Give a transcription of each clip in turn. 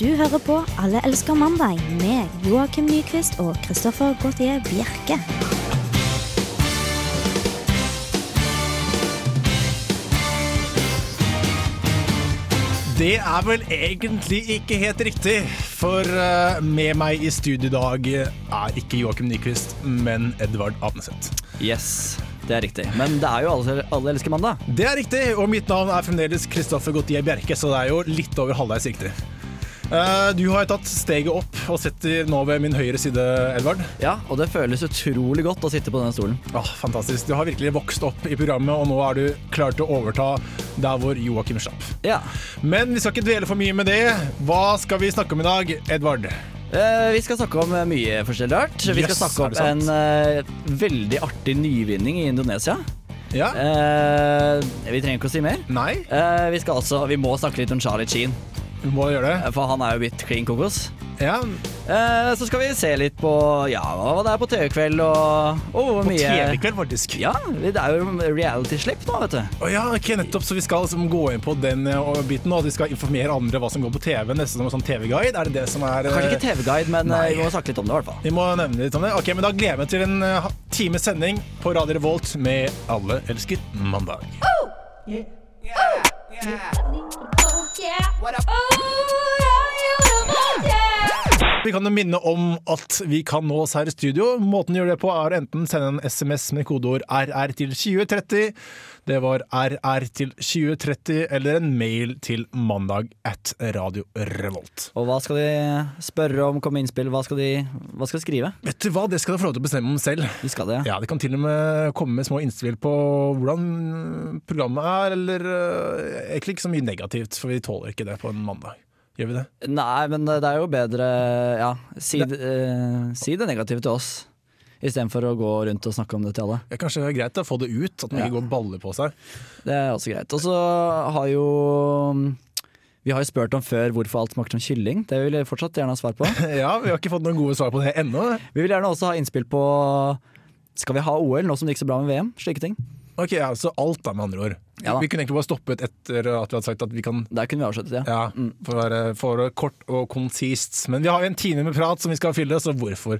Du hører på Alle elsker mandag med Joakim Nyquist og Christoffer Gautier Bjerke. Det er vel egentlig ikke helt riktig, for eh, med meg i studio i dag er ikke Joakim Nyquist, men Edvard Apneseth. Yes, det er riktig. Men det er jo alle, alle elsker mandag. Det er riktig, og mitt navn er fremdeles Kristoffer Gautier Bjerke, så det er jo litt over halvveis riktig. Eh, Du har jo tatt steget opp og sitter nå ved min høyre side, Edvard. Ja, og det føles utrolig godt å sitte på denne stolen. Åh, fantastisk. Du har virkelig vokst opp i programmet, og nå er du klar til å overta der hvor Joakim slapp. Ja. Men vi skal ikke dvele for mye med det. Hva skal vi snakke om i dag, Edvard? Eh, vi skal snakke om eh, mye forskjellig rart. Vi skal Yes, er snakke om det sant? en eh, veldig artig nyvinning i Indonesia. Ja? Eh, vi trenger ikke å si mer. Nei? Eh, vi skal også, vi må snakke litt om Charlie Sheen, Vi må gjøre det. eh, for han er jo blitt klin kokos. Ja, Eh, så skal vi se litt på ja, hva det er på TV-kveld og, og hvor På mye TV-kveld, faktisk. Ja, det er jo reality-slipp nå, vet du. Å ja, ok, nettopp, så Vi skal liksom gå inn på den eh, og biten, og at vi skal informere andre hva som går på TV. Nesten som en sånn TV-guide. Er det det som er eh, Kanskje ikke TV-guide, men eh, Nei. vi må snakke litt om det i hvert fall. Vi må nevne litt om det. Ok, men Da gleder jeg meg til en eh, ha- times sending på Radio Revolt med Alle elsker mandag. Vi kan jo minne om at vi kan nå oss her i studio. Måten å gjøre det på er å enten sende en SMS med kodeord RR til 2030. Det var RR til 2030, eller en mail til mandag at Radio Revolt. Og hva skal de spørre om, komme med innspill, hva skal de, hva skal de skrive? Vet du hva, det skal du få lov til å bestemme om selv. De skal det, ja. Ja, det kan til og med komme med små innspill på hvordan programmet er, eller eh, egentlig ikke så mye negativt, for vi tåler ikke det på en mandag. Gjør vi det? Nei, men det er jo bedre, ja, si det, eh, si det negative til oss. Istedenfor å gå rundt og snakke om det til alle. Ja, kanskje det er greit å få det ut, at man ikke går baller på seg. Det er også greit. Og så har jo Vi har jo spurt om før hvorfor alt smaker som kylling. Det vil jeg fortsatt gjerne ha svar på. Ja, vi har ikke fått noen gode svar på det ennå. Vi vil gjerne også ha innspill på skal vi ha OL nå som det gikk så bra med VM? Slike ting. Ok, ja, så alt da, med andre ord. Ja da. Vi kunne egentlig bare stoppet etter at vi hadde sagt at vi kan Der kunne vi avsluttet, ja. ja, for å være for å være kort og konsist. Men vi har jo en time med prat som vi skal fylle, så hvorfor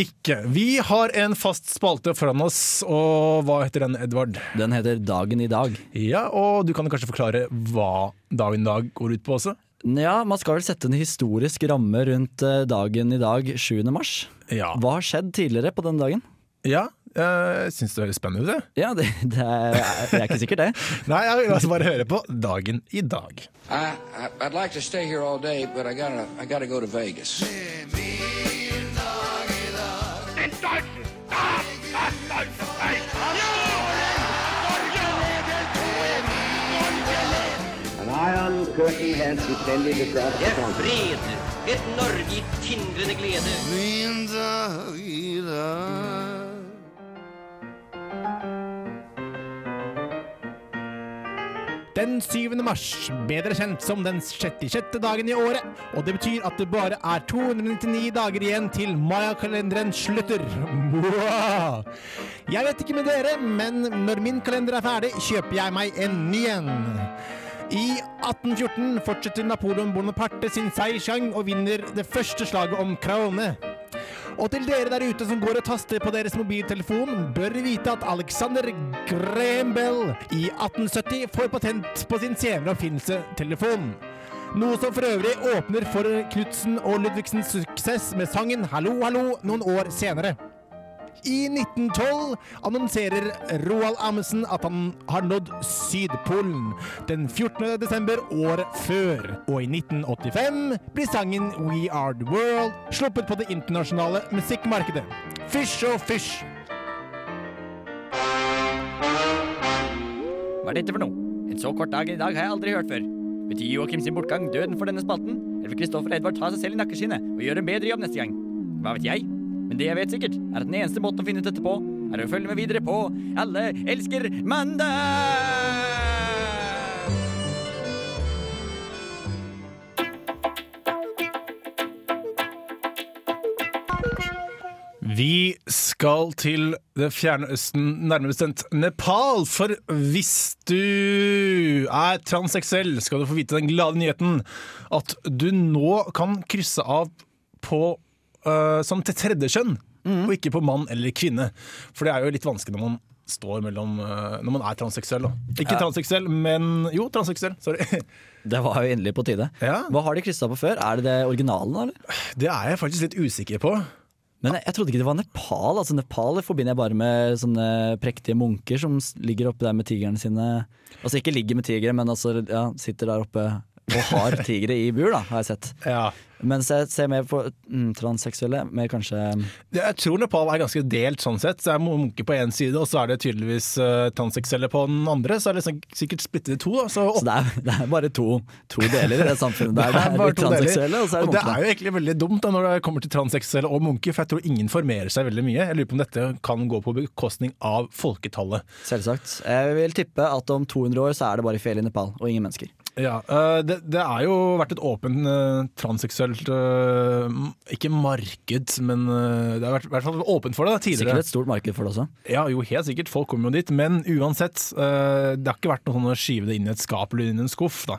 ikke? Vi har en fast spalte foran oss, og hva heter den, Edvard? Den heter Dagen i dag. Ja, og du kan kanskje forklare hva dagen i dag går ut på også? Ja, man skal vel sette en historisk ramme rundt eh, dagen i dag, 7. mars. Ja. Hva har skjedd tidligere på denne dagen? ja eh, syns det høres spennende ut, det. Ja, det, det, er, det er ikke sikkert det. Nei, jeg vil altså bare høre på dagen i dag. I, I I'd like to stay here all day, but I gotta I gotta go to Vegas. An iron curtain has descended across the country. fred, et Norge i tindrende glede. Den 7. mars, bedre kjent som den 66. dagen i året. Og det betyr at det bare er 299 dager igjen til mayakalenderen slutter. Mwah! Jeg vet ikke med dere, men når min kalender er ferdig, kjøper jeg meg en ny en. I 1814 fortsetter Napoleon Bonaparte sin seiersgang og vinner det første slaget om Kraone. Og til dere der ute som går og taster på deres mobiltelefon, bør vite at Alexander Graham Bell i 1870 får patent på sin senere oppfinnelse telefon. Noe som for øvrig åpner for Knutsen og Ludvigsens suksess med sangen 'Hallo, hallo' noen år senere. I 1912 annonserer Roald Amundsen at han har nådd Sydpolen den 14. desember året før. Og i 1985 blir sangen We Are The World sluppet på det internasjonale musikkmarkedet. Fish og fish. Hva er dette for noe? En så kort dag i dag har jeg aldri hørt før. Betyr Joakim sin bortgang døden for denne spalten? Eller vil Kristoffer og Edvard ta seg selv i nakkeskinnet og gjøre en bedre jobb neste gang? Hva vet jeg? Men det jeg vet sikkert, er at den eneste måten å finne ut dette på, er å følge med videre på Alle elsker mandag! Vi skal til det fjerne østen, nærmere bestemt Nepal. For hvis du du er transseksuell, skal du få vite den glade nyheten at du nå kan krysse av på, eh, som til tredje kjønn, og ikke på mann eller kvinne. For det er jo litt vanskelig når man står mellom eh, Når man er transseksuell, da. Ikke transseksuell, men Jo, transseksuell. Sorry. Det var jo endelig på tide. Ja. Hva har de kryssa på før? Er det det originalen, eller? Det er jeg faktisk litt usikker på. Men jeg, jeg trodde ikke det var Nepal. Altså Nepal forbinder jeg bare med sånne prektige munker som s- ligger oppe der med tigrene sine. Altså ikke ligger med tigre, men altså ja, sitter der oppe og har tigre i bur, da, har jeg sett. Ja. Mens jeg ser mer på mm, transseksuelle, mer kanskje Jeg tror Nepal er ganske delt sånn sett. Så er munker på én side, og så er det tydeligvis eh, transseksuelle på den andre. Så er det sånn, sikkert splittet i to. Da. Så Så det er, det er bare to, to deler i det samfunnet der. Det er, bare litt to deler. transseksuelle, og så er det og det er munkene. jo egentlig veldig dumt da, når det kommer til transseksuelle og munker, for jeg tror ingen formerer seg veldig mye. Jeg lurer på om dette kan gå på bekostning av folketallet. Selvsagt. Jeg vil tippe at om 200 år så er det bare fjell i Nepal, og ingen mennesker. Ja, øh, det, det er jo vært et åpen øh, transseksuelt øh, m- Ikke marked, men øh, det har vært i hvert fall åpent for det da, tidligere. Sikkert et stort marked for det også. Ja, jo, helt sikkert. Folk kommer jo dit. Men uansett, øh, det har ikke vært noe sånn å skyve det inn i et skap eller inn i en skuff, da.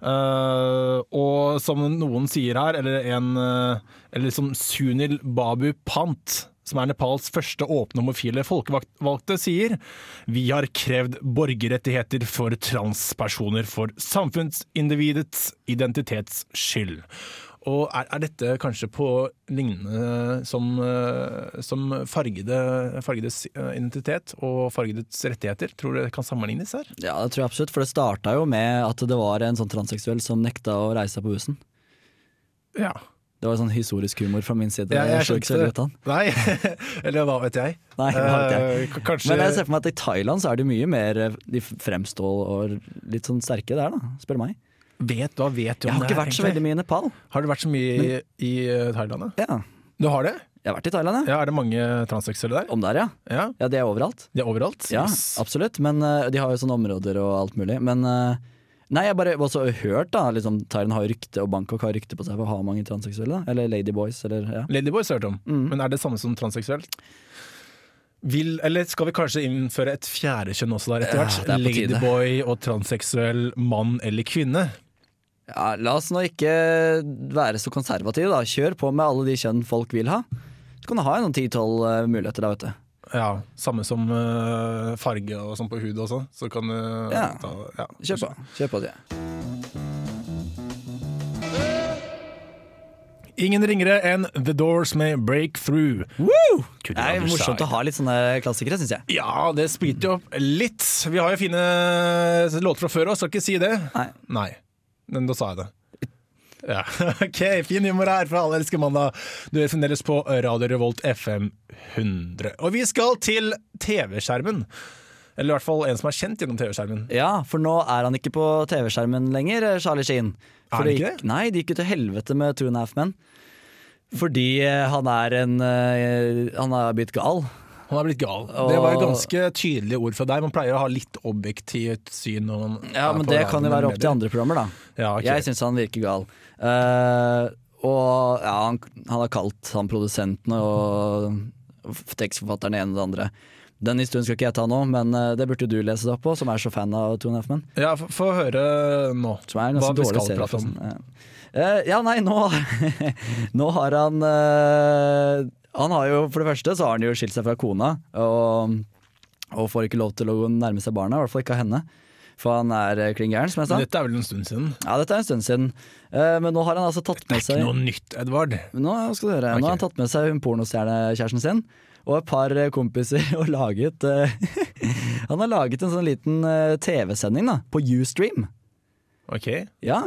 Eh, og som noen sier her, eller en eh, Eller som Sunil Babu Pant, som er Nepals første åpne homofile folkevalgte, sier Vi har krevd borgerrettigheter for transpersoner for samfunnsindividets identitets skyld. Og er, er dette kanskje på lignende som, eh, som fargede, fargedes eh, identitet og fargedes rettigheter? Tror du det kan sammenlignes her? Ja, det tror jeg absolutt, for det starta jo med at det var en sånn transseksuell som nekta å reise seg på bussen. Ja. Det var sånn historisk humor fra min side. Ja, Jeg, slo ikke så skjønte veldig ut av han. det. Nei, eller hva vet jeg. Nei, det var ikke jeg. Eh, k- kanskje Men jeg ser for meg at i Thailand så er de mye mer eh, De fremstår og litt sånn sterke der, da. Spør meg. vet, Hva vet du om Jeg det har ikke her, vært egentlig? så veldig mye i Nepal. Har du vært så mye i, i eh, Thailand? da? Ja. Du har det? Jeg har vært i Thailand, jeg. Ja, Er det mange transseksuelle der? Om der, ja. Ja, Ja, De er overalt. De er overalt? Ja, Yes. absolutt. Men eh, de har jo sånne områder og alt mulig. Men eh, Nei, jeg har bare også hørt da liksom, Thailand har rykte, og Bangkok har rykte på seg for å ha mange transseksuelle. da. Eller ladyboys, eller ja. Ladyboys har jeg hørt om, Mm. men er det samme som transseksuelt? Vil, eller skal vi kanskje innføre et fjerde kjønn også der etter hvert? det er på tide. Ladyboy og transseksuell mann eller kvinne. Ja, la oss nå ikke være så konservative, da. Kjør på med alle de kjønn folk vil ha. Så kan du ha noen 10-12 eh, muligheter da, vet du. Ja, Samme som øh, farge og sånn på hud og sånn. Så kan du Ja. ta ja. Kjør på. Kjør på det. Ingen ringere enn The Doors med Breakthrough. Woo! To the Det er other morsomt side. å ha litt sånne klassikere, syns jeg. Ja, det spriter jo opp litt. Vi har jo fine låter fra før òg, skal ikke si det. Nei. Nei. Men da sa jeg det. Ja, OK, fin humor her fra Alle elsker mandag. Du er fremdeles på Radio Revolt FM 100. Og vi skal til TV-skjermen. Eller i hvert fall en som er kjent gjennom TV-skjermen. Ja, for nå er han ikke på TV-skjermen lenger, eh, Charlie Sheen. Er For han ikke gikk, det? Nei, det gikk jo til helvete med Two and a Half Men. Fordi eh, han er en eh, Han har blitt gal. Han er blitt gal. Det var jo ganske tydelige ord fra deg. Man pleier å ha litt objektivt syn. Når man Ja, er men på det radio kan jo med være opp til medier. andre programmer, da. Ja, Ah, ok. Jeg syns han virker gal. Eh, og ja, han, han har kalt han produsentene og tekstforfatteren det ene og det andre. Den historien skal ikke jeg ta nå, men eh, det burde jo du lese deg opp på, som er så fan av Two and a Half Men. Ja, få- få høre nå Som er en hva ganske vi dårlig skal serie. prate om. forresten. Eh, ja, nei, nå, nå har han eh, Han har jo For det første så har han jo skilt seg fra kona, og, og får ikke lov til å nærme seg barna, i hvert fall ikke av henne. For han er eh, klin gæren, som jeg sa. Dette er vel en stund siden. Ja, dette er en stund siden. Eh, men nå har han altså tatt Det med er ikke seg noe nytt, Edvard. Nå skal du høre. Ok. Nå har han tatt med seg hun pornostjernekjæresten sin og et par eh, kompiser og laget eh, Han har laget en sånn liten eh, TV-sending da, på Ustream. Ok, Ja,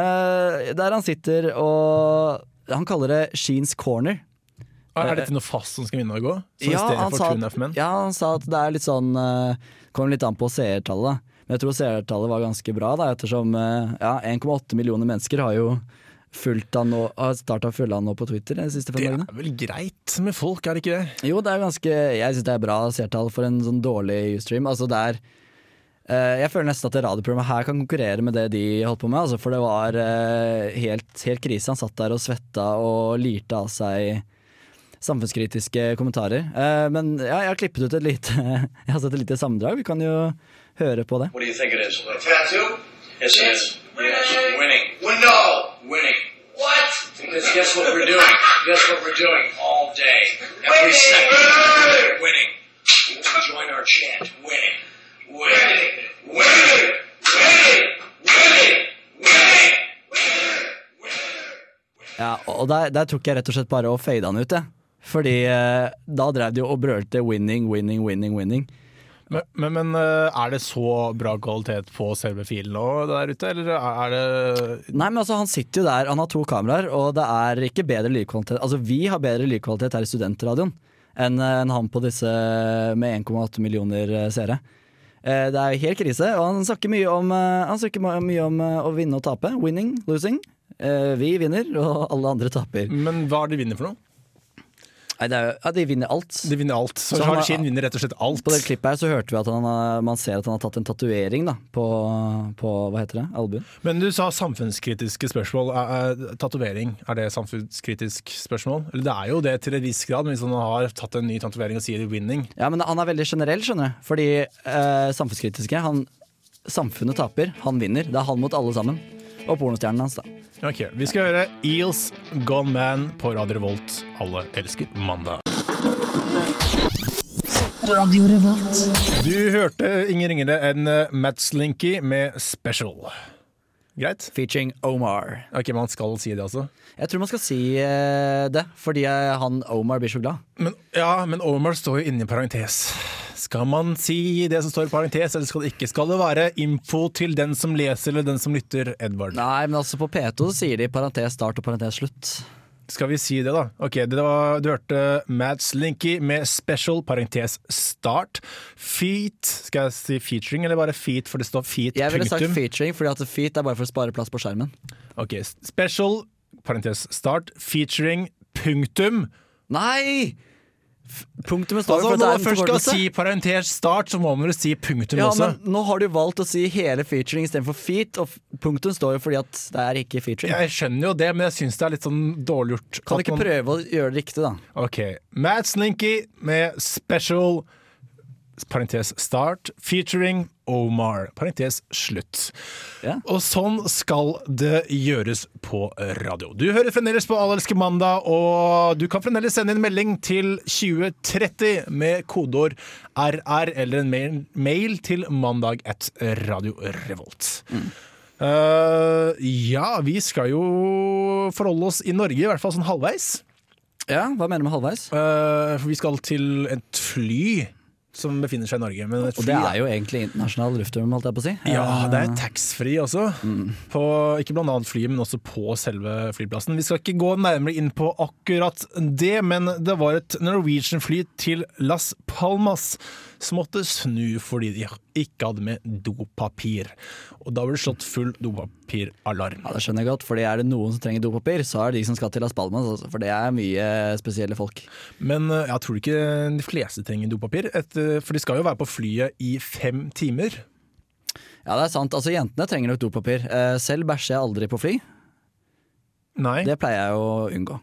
eh, der han sitter og Han kaller det Sheens Corner. Er dette noe fast som skal vinne å gå? Som Eh, Ja, i stedet han, for sa Two and a Half Men? at, ja, han sa at det er litt sånn eh, Kommer litt an på seertallet. da. Men jeg tror seertallet var ganske bra, da, ettersom eh, ja, 1,8 millioner mennesker har jo fulgt han nå, har starta å følge han nå på Twitter de siste fem Det dagene. er vel greit med folk, er det ikke det? Jo, det er ganske Jeg syns det er bra seertall for en sånn dårlig Ustream. Altså det er eh, Jeg føler nesten at det radioprogrammet her kan konkurrere med det de holdt på med. Altså, for det var eh, helt, helt krise. Han satt der og svetta og lirte av seg samfunnskritiske kommentarer. Eh, men ja, jeg har klippet ut et lite Jeg har sett et lite sammendrag. Vi kan jo høre på det. What do you think it is? A tattoo? Yes, it is. Yes, winning. No! Winning. What? Because guess what we're doing? guess what we're doing all day. Every winning. second. Winning. Join our chant. Winning. Winning. Winning. Winning. Winning. Winning. Winning. Ja, og der, der tok jeg rett og slett bare og fada den ut, jeg. Fordi eh, da drev de jo og brølte 'winning, winning, winning', winning. Men, men, men eh, er det så bra kvalitet på selve filen nå der ute, eller er det Nei, men altså Han sitter jo der, han har to kameraer, og det er ikke bedre lydkvalitet Altså Vi har bedre lydkvalitet her i studentradioen enn eh, enn han på disse med 1,8 millioner eh, seere. Eh, Det er jo helt krise, og han snakker mye om, eh, han snakker ma- mye om eh, å vinne og tape. Winning, losing. Eh, Vi vinner, og alle andre taper. Men hva er det de vinner for noe? Nei, det er jo, ja, De vinner alt. De vinner alt. Så, Så han Charlie har- Sheen vinner rett og slett alt. På det klippet her så hørte vi at han, har- man ser at han har tatt en tatovering da, på, på hva heter det, albuen. Men du sa samfunnskritiske spørsmål. Er- er- Tatovering, er det samfunnskritisk spørsmål? Eller det er jo det til en viss grad, men hvis han har tatt en ny tatovering og sier 'winning' Ja, men han er veldig generell, skjønner du. Fordi eh, samfunnskritiske han, Samfunnet taper, han vinner. Det er han mot alle sammen. Og pornostjernen hans, da. Ok, Vi skal høre Eels Gone Man på Radio Revolt. Alle elsker mandag. Du hørte ingen ringere enn eh, Matt Slinky med Special. Greit? Featuring Omar. Ok, Man skal si det, altså. Jeg tror man skal si eh, det, fordi eh, han Omar blir så glad. Men, ja, men Omar står jo inni parentes. Skal man si det som står i parentes, eller skal det ikke? Skal det være info til den som leser eller den som lytter, Edvard? Nei, men altså på P2 så sier de parentes start og parentes slutt. Skal vi si det, da? Ok, det var, Du hørte Mad Slinky med special parentes start. Feet Skal jeg si featuring, eller bare feet, for det står feet Jeg ville sagt punktum? featuring, fordi at feet er bare for å spare plass på skjermen. Ok, Special parentes start, featuring punktum. Nei! F- Punktumet Altså, står jo for når at det er man en først skal forkortelse. si parentes start, så må man vel si punktum ja, også. men Nå har du valgt å si hele featuring istedenfor feet, og f- punktum står jo fordi at det er ikke featuring. Jeg skjønner jo det, men jeg syns det er litt sånn dårlig gjort. Kan du at ikke man- prøve å gjøre det riktig, da? Ok. Matt Slinky med special parentes start, featuring Omar. Parentes slutt. Ja. Og sånn skal det gjøres på radio. Du hører fremdeles på Alle elsker mandag, og du kan fremdeles sende en melding til 2030 med kodeord RR eller en mail, mail til mandag at Radio Revolt. Mm. Eh, ja, vi skal jo forholde oss i Norge, i hvert fall sånn halvveis. Ja, Hva mener du med halvveis? Eh, for vi skal til et fly som befinner seg i Norge. Men et Og fly, det da. er jo egentlig internasjonal luftrom, holdt jeg på å si. Ja, Eh, Mm. det er taxfree også. På, ikke blant annet flyet, men også på selve flyplassen. Vi skal ikke gå nærmere inn på akkurat det, men det var et Norwegian-fly til Las Palmas som måtte snu fordi de ikke hadde med dopapir. Og da ble det slått full dopapiralarm. ja, det skjønner jeg godt, fordi er det noen som trenger dopapir, så er det de som skal til Las Palmas, altså, for det er mye spesielle folk. Men eh, jeg tror ikke de fleste trenger dopapir, etter, for de skal jo være på flyet i fem timer. Ja, det er sant. Altså, jentene trenger nok dopapir. Eh, Selv bæsjer jeg aldri på fly. Nei. Det pleier jeg å unngå.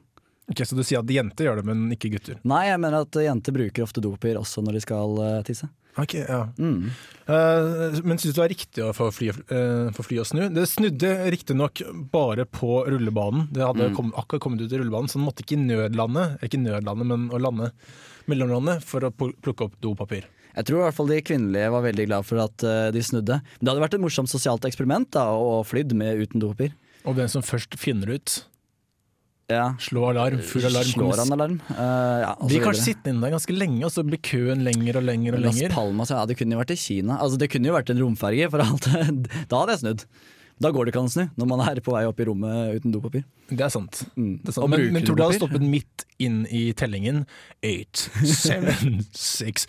Ok, Så du sier at jenter gjør det, men ikke gutter? Nei, jeg mener at jenter bruker ofte dopapir også når de skal eh, tisse. Ok, ja. Mm. Eh, men syns du det er riktig å få fly, eh, få fly å snu? Det snudde riktignok bare på rullebanen. Det Mm. hadde kom, akkurat kommet ut i rullebanen, så den måtte ikke nødlande, eller ikke nødlande, men å lande mellomlandet for å pl- plukke opp dopapir. Jeg tror i hvert fall de kvinnelige var veldig glad for at eh, de snudde. Men det hadde vært et morsomt sosialt eksperiment da, å flydd med uten dopapir. Og hvem som først finner ut, Ja. slå alarm, full alarm. Slår han alarm? alarm? Eh, ja, og så Blir videre. kanskje sittende inne der ganske lenge, og så blir køen lenger og lenger og Las lenger. Palmas, ja, det kunne jo vært i Kina. Altså, det kunne jo vært en romferge, for alt Da hadde jeg snudd. Da går det ikke an å snu, når man er på vei opp i rommet uten dopapir. Det er sant. Det er sant. Mm. Og Men, bruker men tror du det hadde dopapir? stoppet midt inn i tellingen? Eight, seven, six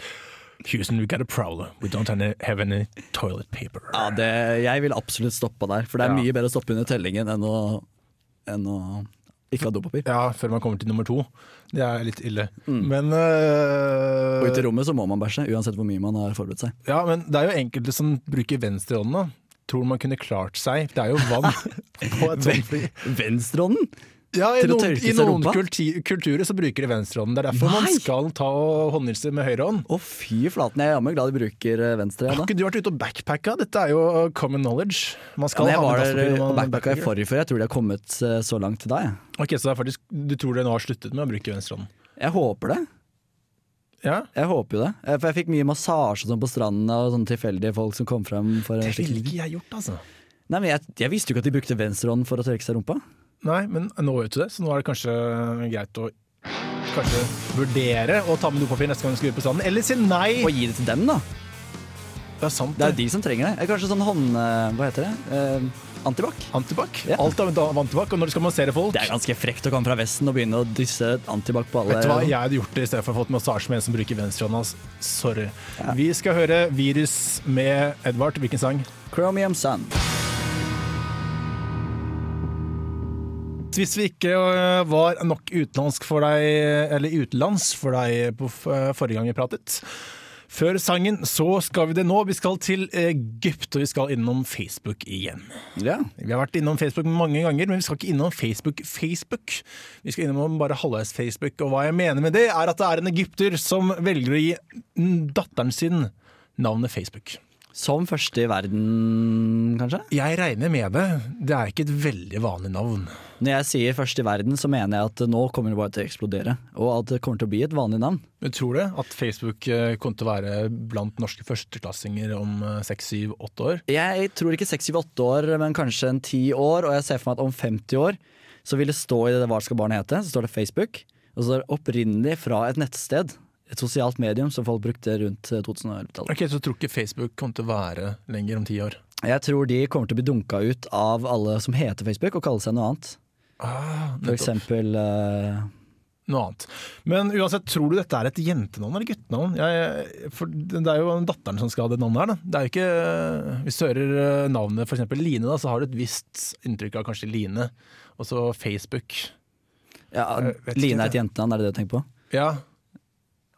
Houston, we got a problem. We don't any- have any toilet paper. Ja, det, jeg ville absolutt stoppa der, for det er mye bedre å stoppe under tellingen enn å, enn å ikke ha dopapir. Ja, før man kommer til nummer to. Det er litt ille. Men, øh, Mm. Og ute i rommet så må man bæsje, uansett hvor mye man har forberedt seg. ja, men det er jo enkelte som bruker venstrehånda. Tror man kunne klart seg. Det er jo vann på et sånt fly. Venstrehånden? Ja, I Til å noen, i tørke seg noen rumpa? kulti- kulturer så bruker de venstrehånden. Det er derfor man Nei! skal ta og håndhilse med høyrehånd. Å, fy flaten. Jeg er jammen glad de bruker eh, venstre. Har Ja, da. ikke du vært ute og backpacka? Dette er jo common knowledge. Man Ja, skal men jeg ha var med der dasspapir eh, når og man backpacka i backpacker. forrige før. Jeg tror de har kommet eh, så langt til deg. jeg. Ok, Så det er faktisk, du tror det nå har sluttet med å bruke venstrehånden? Jeg håper det. Ja. Jeg håper jo det. Eh, For jeg fikk mye massasje og sånn på stranden av sånne tilfeldige folk som kom frem. For Det ville ikke jeg gjort, altså. Nei, men jeg, jeg visste jo ikke at de brukte venstrehånd for å tørke seg i rumpa. Nei, men nå vet du det, så nå er det kanskje greit å kanskje vurdere å ta med dopapir neste gang du skal ut på stranden. Eller si nei! Og gi det til dem, da. det er sant. Det er jo de som trenger det. Eh, Kanskje sånn hånd... eh, Hva heter det? Eh, Antibac? Antibac. Ja. Alt er antibac, og når du skal massere folk Det er ganske frekt å komme fra Vesten og begynne å dysse antibac på alle. Vet du hva, jeg hadde gjort det i stedet for å fått massasje med en som bruker venstrehånda. ass. Sorry. Vi skal høre 'Virus' med Edvard. Hvilken sang? Chromium Sun. Hvis vi ikke øh, var nok utenlandsk for deg, eller utenlands for deg på f- øh, forrige gang vi pratet før sangen, så skal vi det nå. Vi skal til eh, Egypt, og vi skal innom Facebook igjen. Ja. Vi har vært innom Facebook mange ganger, men vi skal ikke innom Facebook-Facebook. Vi skal innom bare halvveis-Facebook, og hva jeg mener med det, er at det er en egypter som velger å gi mm, datteren sin navnet Facebook. Som første i verden, kanskje? Jeg regner med det. Det er ikke et veldig vanlig navn. Når jeg sier første i verden, så mener jeg at nå kommer det bare til å eksplodere. Og at det kommer til å bli et vanlig navn. Men tror du at Facebook eh, kommer til å være blant norske førsteklassinger om eh, seks, syv, åtte år? Jeg tror ikke 6-7-8 år, men kanskje en 10 år. Og jeg ser for meg at om 50 år så vil det stå i det hva skal barnet hete. Så står det Facebook. Og så er det opprinnelig fra et nettsted. Et sosialt medium som folk brukte rundt eh, 2011-tallet. Ok, Så tror ikke Facebook kommer til å være lenger om ti år? Jeg tror de kommer til å bli dunka ut av alle som heter Facebook, og kalle seg noe annet. For Ah, nettopp. eksempel eh, Noe annet. Men uansett, tror du dette er et jentenavn eller guttenavn? Jeg, for det er jo datteren som skal ha det navnet her. Da. Det er jo ikke, hvis du hører eh, navnet f.eks. Line, da, så har du et visst inntrykk av kanskje Line. Og så Facebook. ja, Jeg vet ikke, Line er jeg. et jentenavn, er det det du tenker på? Ja.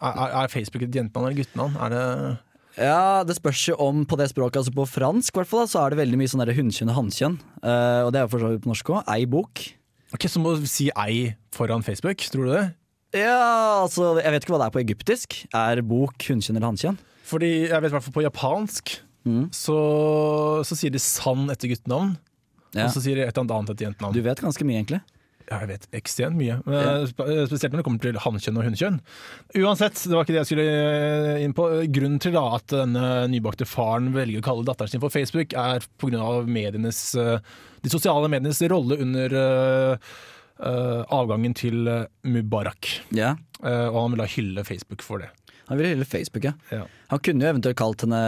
Er, er- er Facebook et jentenavn eller guttenavn? Er det Ja, Det spørs jo om på det språket, altså på fransk i hvert fall, da, så er det veldig mye sånn derre hunnkjønn og hannkjønn. Eh, og det er jo for så vidt på norsk òg. Ei bok. Ok, Så må du si ei foran Facebook, tror du det? Ja, altså, jeg vet ikke hva det er på egyptisk. Er bok hunnkjønn eller hannkjønn? Fordi jeg vet i hvert fall på japansk Mm. så, så sier de sann etter guttenavn. Ja. Og så sier de et eller annet annet etter jentenavn. Altså, Du vet ganske mye, egentlig. Ja, jeg vet ekstremt mye. Men, spe- Spesielt når det kommer til hannkjønn og hunnkjønn. Uansett, det var ikke det jeg skulle eh, inn på. Grunnen til da at denne nybakte faren velger å kalle datteren sin for Facebook, er pga. medienes eh, De sosiale medienes rolle under eh, eh, avgangen til eh, Mubarak. Ja. Eh, og han ville hylle Facebook for det. Han ville hylle Facebook, ja. Ja. Han kunne jo eventuelt kalt henne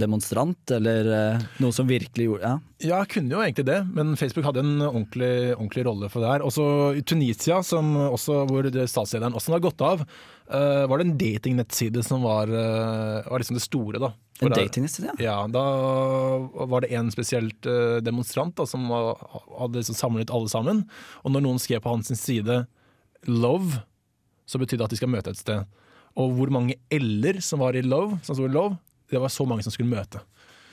demonstrant, eller eh, noe som virkelig gjorde Ja. Ja, jeg kunne jo egentlig det, men Facebook hadde en ordentlig, ordentlig rolle for det her. Også i Tunisia, som også, hvor det- statslederen også har gått av, eh, var det en datingnettside som var, eh, var liksom det store. da. For En der- datingnettside, ja. Ja, da var det en spesielt eh, demonstrant da, som var- hadde liksom samlet alle sammen. Og når noen skrev på hans side 'love', så betydde det at de skal møte et sted. Og hvor mange L-er som var i 'love', som sto i 'love', det var så mange som skulle møte.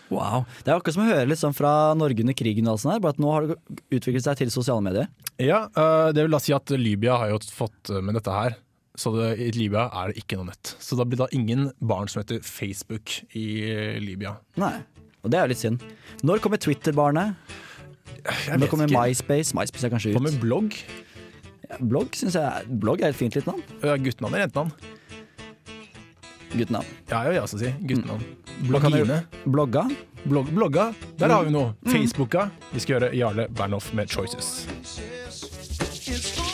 Wow. Det er akkurat som å høre litt sånn fra Norge under krigen, og alt sånt her, bare at nå har det utviklet seg til sosiale medier. Ja, eh, det vil da si at Libya har jo fått eh, med dette her. Så det, i Libya er det ikke noe nett. Så da blir det da ingen barn som heter Facebook i eh, Libya. Nei. Og det er jo litt synd. Når kommer Twitter-barnet? Når kommer MySpace? MySpace er kanskje Hva med ut. blogg? Ja, Blogg synes jeg er- blogg er et fint lite navn. Ja, Guttenavn eller jentenavn? Guttenavn. Ja, jeg vil også si guttenavn. Mm. Hva kan Bloggine. jeg- Blogga? Blogg, blogga, der har vi noe. Facebooka. Vi skal gjøre Jarle Bernhoff med 'Choices'.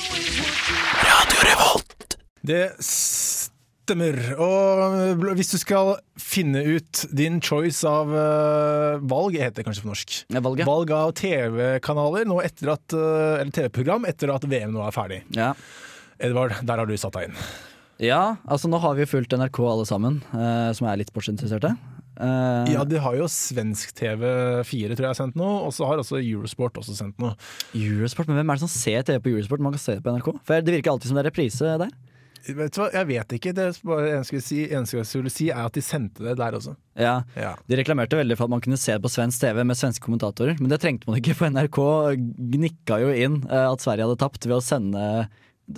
Radio Revolt. Det stemmer. Og bl- hvis du skal finne ut din choice av eh, valg, heter det kanskje på norsk. Ja, valget. Valg av TV-kanaler nå etter at, eh, eller TV-program etter at VM nå er ferdig. Ja. Edvard, der har du satt deg inn. ja, altså nå har vi jo fulgt NRK alle sammen, eh, som er litt sportsinteresserte. Eh, Ja, de har jo svensk TV4 tror jeg sendt noe, og så har også Eurosport også sendt noe. Eurosport, men hvem er det som ser TV på Eurosport? Man kan se det på NRK. For det virker alltid som det er reprise der. Vet du hva, jeg vet ikke. Det er bare eneste jeg skulle si, eneste jeg skulle si, er at de sendte det der også. Ja. Ja. De reklamerte veldig for at man kunne se det på svensk TV med svenske kommentatorer, men det trengte man ikke, for NRK gnikka jo inn eh, at Sverige hadde tapt ved å sende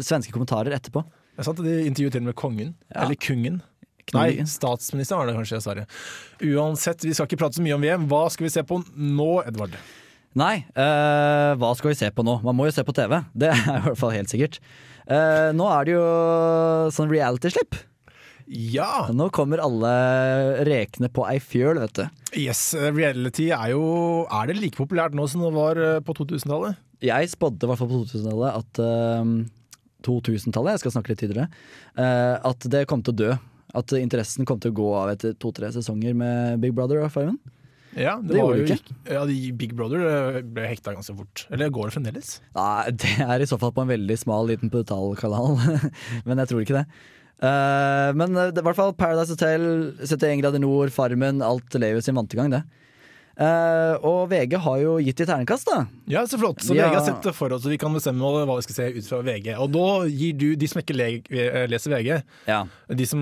svenske kommentarer etterpå. Det er sant, De intervjuet til og med kongen. Eller kungen. Nei, Kungen. statsministeren var det kanskje, Sverre. Uansett, vi skal ikke prate så mye om VM. Hva skal vi se på nå, Edvard? Nei, eh, hva skal vi se på nå? Man må jo se på TV, det er i hvert fall helt sikkert. Eh, nå er det jo sånn reality-slipp. Ja! Nå kommer alle rekene på ei fjøl, vet du. Yes, reality er jo Er det like populært nå som det var eh, på 2000-tallet? Jeg spådde i hvert fall på 2000-tallet at eh, 2000-tallet, jeg skal snakke litt tidligere, eh, at det kom til å dø. At interessen kom til å gå av etter to-tre sesonger med Big Brother og Farmen. Ja, Det var gjorde jo det ikke. ikke- Ja, de Big Brother eh, ble hekta ganske fort. Eller går det fremdeles? Nei, det er i så fall på en veldig smal liten brutalkanal, men jeg tror ikke det. Eh, men det er i hvert fall Paradise Hotel, 71 grader nord, Farmen, alt lever sin vante gang, det. Eh, og VG har jo gitt de ternekast, da. Ja, så flott. Så Ja. VG har sett det for oss, og vi kan bestemme hva vi skal se ut fra VG. Og da gir du de som ikke le eh, leser VG, Ja. de som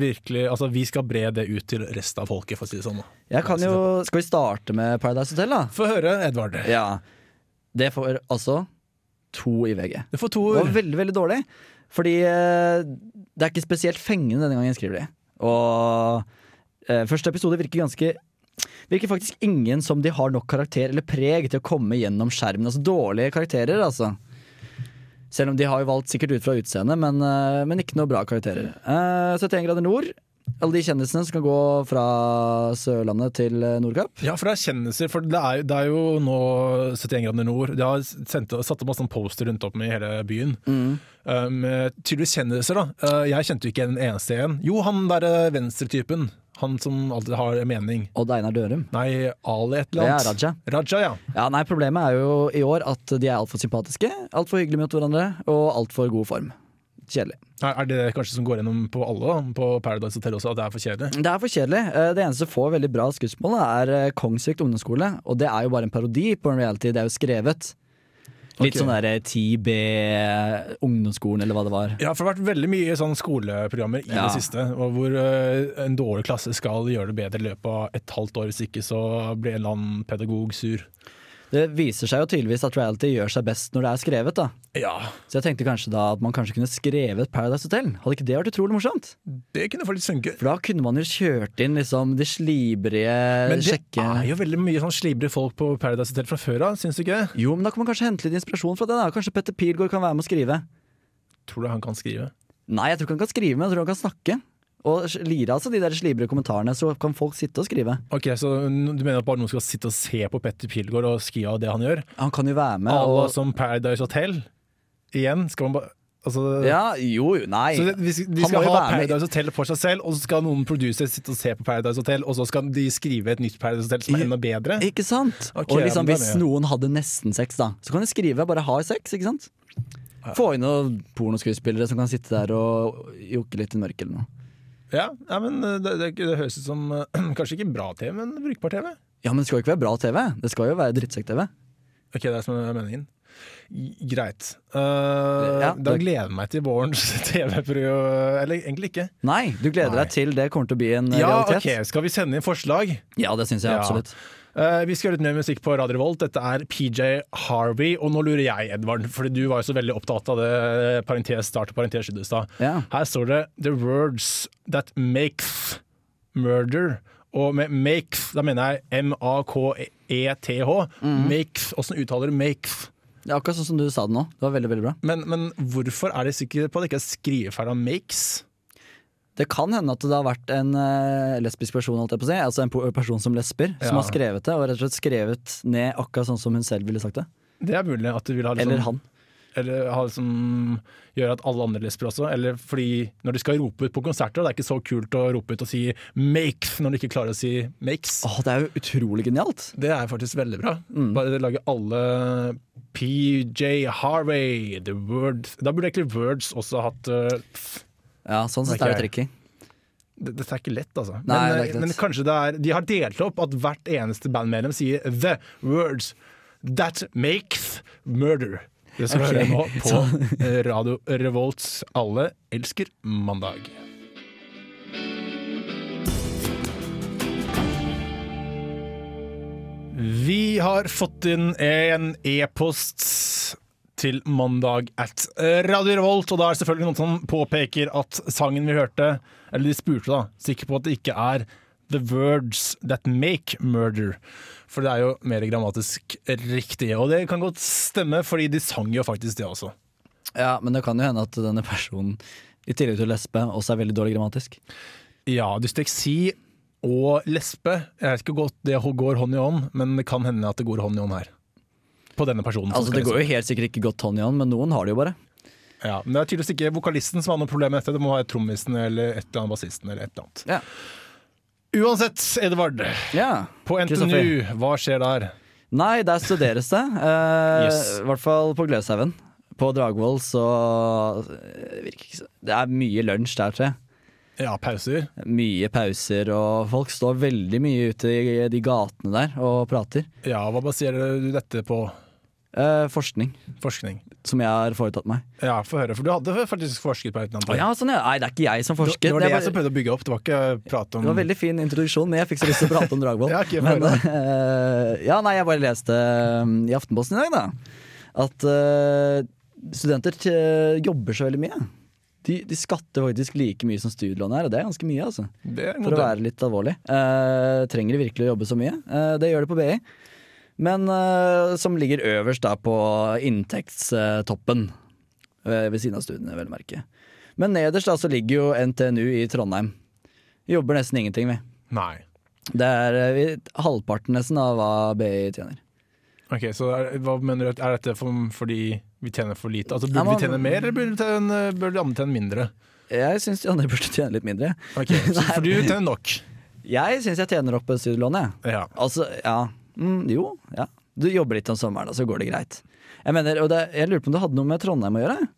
virkelig Altså, vi skal bre det ut til resten av folket, for å si det sånn. Jeg kan jo Skal vi starte med Paradise Hotel, da? Få høre, Edvard. Ja. Det får altså to i VG. Du får to Det var ord. veldig, veldig dårlig. Fordi eh, det er ikke spesielt fengende denne gangen, skriver de. Og eh, første episode virker ganske Virker faktisk ingen som de har nok karakter eller preg til å komme gjennom skjermen. Altså dårlige karakterer, altså. Selv om de har jo valgt sikkert ut fra utseende, men, eh, men ikke noe bra karakterer. Eh, 71 grader nord. Alle de kjendisene som kan gå fra Sørlandet til eh, Nordkapp. Ja, for det er kjendiser. For det er, det er jo nå 71 grader nord. De har sendt, satt opp masse sånn poster rundt om i hele byen. Mm. Um, tydeligvis kjendiser, da. Uh, jeg kjente jo ikke en eneste en. Jo, han derre venstretypen. Han som alltid har en mening. Odd Einar Dørum. Nei, Ali et Det eller er annet. Raja. Raja, ja. Ja, nei, Problemet er jo i år at de er altfor sympatiske, altfor hyggelige mot hverandre og altfor god form. Kjedelig. Er er det kanskje som går gjennom på alle, da? på Paradise Hotel også, at det er for kjedelig? Det er for kjedelig. Eh, Det eneste som får veldig bra skuespill, er eh, Kongsvik ungdomsskole. Og det er jo bare en parodi på en reality. Det er jo skrevet. Litt Ok. sånn derre 10B eh, ungdomsskolen, eller hva det var. Ja, for det har vært veldig mye sånn skoleprogrammer i Ja. det siste, og hvor eh, en dårlig klasse skal gjøre det bedre i løpet av et halvt år, hvis ikke så blir en eller annen pedagog sur. Det viser seg jo tydeligvis at reality gjør seg best når det er skrevet, da. Ja, Så jeg tenkte kanskje da at man kanskje kunne skrevet Paradise Hotel. Hadde ikke det vært utrolig morsomt? det kunne faktisk funke. For da kunne man jo kjørt inn liksom de slibrige Men det sjekke... er jo veldig mye sånn slibrige folk på Paradise Hotel fra før av, syns du ikke det? Jo, men da kan man kanskje hente litt inspirasjon fra det. da Kanskje Petter Pilgaard kan være med å skrive. Tror du han kan skrive? Nei, jeg tror ikke han kan skrive, men jeg tror han kan snakke. Og s- lire altså de der slibre kommentarene, så kan folk sitte og skrive. Ok, så n- du mener at bare noen skal sitte og se på Petter Pilgaard og skrive av det han gjør? Han kan jo være med Alle og som Paradise Hotel? Igjen, skal man bare Altså Ja, jo, jo, nei. Så det, vi, sk- de Han må skal jo ha være med. Paradise Hotel for seg selv, og så skal noen producers sitte og se på Paradise Hotel, og så skal de skrive et nytt Paradise Hotel som er enda bedre? Ikke sant? Ok, og ja, liksom men da hvis er det- noen hadde nesten sex, da, så kan de skrive bare 'har sex', ikke sant? Få inn noen pornoskuespillere som kan sitte der og jokke litt i mørket eller noe. Ja, ja men eh, det, det, det høres ut som eh, kanskje ikke bra TV, men brukbar TV. Ja, men det skal jo ikke være bra TV. Det skal jo være drittsekk-TV. Ok, det er som er meningen. G- Greit. Eh, Ja, da det- gleder jeg meg til vårens TV-program Eller egentlig ikke. Nei, du gleder Nei. deg til det kommer til å bli en Ja, realitet. ok, Skal vi sende inn forslag? Ja, det syns jeg Ja. absolutt. Eh, vi skal høre litt mer musikk på Radio Revolt. Dette er PJ Harvey. Og nå lurer jeg, Edvard, fordi du var jo så veldig opptatt av det eh, parentes start og parentes slutt i stad. Ja. Her står det 'The words that makes murder'. Og med 'makes' da mener jeg m-a-k-e-t-h. E Mm. Makes, Åssen uttaler du 'makes'? Det er akkurat sånn som du sa det nå. Det var veldig, veldig bra. Men, men hvorfor er de sikre på at det ikke er skrivefeil av 'makes'? Det kan hende at det har vært en eh, lesbisk person, holdt jeg på å si. Altså en po- person som lesber, som Ja. har skrevet det. Og rett og slett skrevet ned akkurat sånn som hun selv ville sagt det. Det er mulig at de vil ha liksom, Eller han. Eller ha liksom, gjør at alle andre lesber også. Eller fordi når de skal rope ut på konserter, det er ikke så kult å rope ut og si 'makes' når de ikke klarer å si 'makes'. Mm. Åh, det er jo utrolig genialt! Det er faktisk veldig bra. Bare lage alle PJ Harvey, The Words Da burde egentlig Words også hatt uh, pff, Ja, sånn sett Det er er det tricky. det- Dette er ikke lett, altså. Nei, men, det er ikke lett. men kanskje det er De har delt opp at hvert eneste bandmedlem sier 'The Words That Makes Murder'. Det skal Ok. vi høre nå på Radio Revolts Alle elsker mandag. Vi har fått inn en e-post til mandag at Radio Revolt, og da er det selvfølgelig noen som påpeker at sangen vi hørte, eller de spurte da, sikker på at det ikke er The Words That Make Murder. For det er jo mer grammatisk riktig, og det kan godt stemme, fordi de sang jo faktisk det også. Ja, men det kan jo hende at denne personen i tillegg til lesbe også er veldig dårlig grammatisk. Sånn Ja, dysleksi og lesbe, jeg vet ikke godt det går hånd i hånd, men det kan hende at det går hånd i hånd her. På denne personen. som Altså skal Det lese. går jo helt sikkert ikke godt hånd i hånd, men noen har det jo bare. Ja, men det er tydeligvis ikke vokalisten som har noe problem med dette. Det må være trommisen eller et eller annet bassisten eller et eller annet. Ja. Uansett, Edvard. ja. På NTNU, Kristoffer. hva skjer der? Nei, der studeres det. Eh, Yes. I hvert fall på Gløshaugen. På Dragvoll så eh, virker ikke så Det er mye lunsj der, tror jeg. Ja, pauser. Mye pauser, og folk står veldig mye ute i de gatene der og prater. Ja, hva baserer du dette på? Eh, forskning, Forskning. som jeg har foretatt meg. Ja, få høre, for du hadde faktisk forsket på et eller annet. Å ja, sånn, ja. Nei, det er ikke jeg som det, forsket. det var det er jeg som bare- prøvde å bygge opp, det var ikke prat om det var veldig fin introduksjon, men jeg fikk så lyst til å prate om Dragvoll. Ja, ok, få men, høre. eh, ja, nei, jeg bare leste eh, i Aftenposten i dag, da, at eh, studenter eh, jobber så veldig mye. De, de skatter faktisk like mye som studielånet er, og det er ganske mye, altså. Det er For å modell. være litt alvorlig. Eh, trenger de virkelig å jobbe så mye? Eh, det gjør de på BI. Men eh, som ligger øverst da på inntektstoppen. Eh, ved siden av studiene, vel å merke. Men nederst da så ligger jo NTNU i Trondheim. Jobber nesten ingenting, vi. Nei. Det er eh, vi, halvparten nesten av hva BI tjener. Ok, så er, hva mener du, at- er dette for, fordi vi tjener for lite? Altså, burde Ja, men- vi tjene mer, eller burde, vi tjene, burde de andre tjene mindre? Jeg syns de andre burde tjene litt mindre. Ok, så, for du tjener nok. Jeg syns jeg tjener opp studielånet, jeg. Ja. Altså, ja. Mm, jo, ja. Du jobber litt om sommeren, og så går det greit. Jeg mener, og det, jeg lurer på om det hadde noe med Trondheim å gjøre?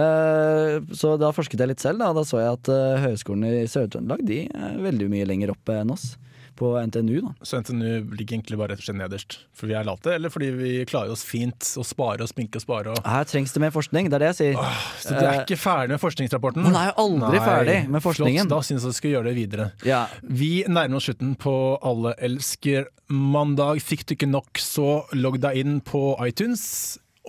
Eh, så da forsket jeg litt selv, da, og da så jeg at eh, høyskolen i Sør-Trøndelag de er veldig mye lenger oppe enn oss. På NTNU, da. Så NTNU ligger egentlig bare rett og slett nederst. For vi er late, eller fordi vi klarer oss fint og sparer og sminker og sparer. Og... Her trengs det mer forskning, det er det jeg sier. Eh, Så du er ikke ferdig med forskningsrapporten? Man er jo aldri ferdig med forskningen. Flott, da synes jeg du skal gjøre det videre. Ja. Vi nærmer oss slutten på Alle elsker mandag. Fikk du ikke nok, så logg deg inn på iTunes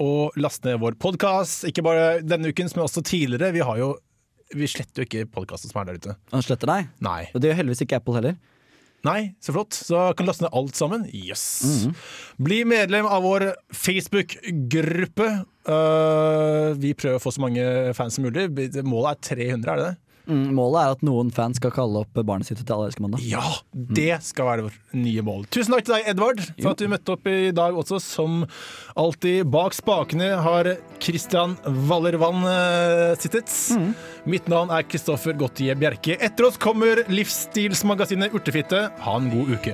og last ned vår podkast. Ikke bare denne ukens, men også tidligere. Vi, har jo, vi sletter jo ikke podkasten som er der ute. Han sletter deg. Nei. Og det gjør heldigvis ikke Apple heller. Nei, så flott. Så kan du laste ned alt sammen. Yes. Bli medlem av vår Facebook-gruppe. Eh, vi prøver å få så mange fans som mulig. Målet er 300, er det det? Mm, målet er at noen fans skal kalle opp barnet sitt til Alle elsker mandag. Ja! Mm. Det skal være vårt nye mål. Tusen takk til deg, Edvard, for at du møtte opp i dag også. Som alltid, bak spakene har Christian Wallervann eh, sittet. Mitt navn er Kristoffer Gottie Bjerke. Etter oss kommer livsstilsmagasinet Urtefitte. Ha en god uke.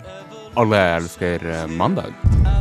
Alle elsker eh, mandag.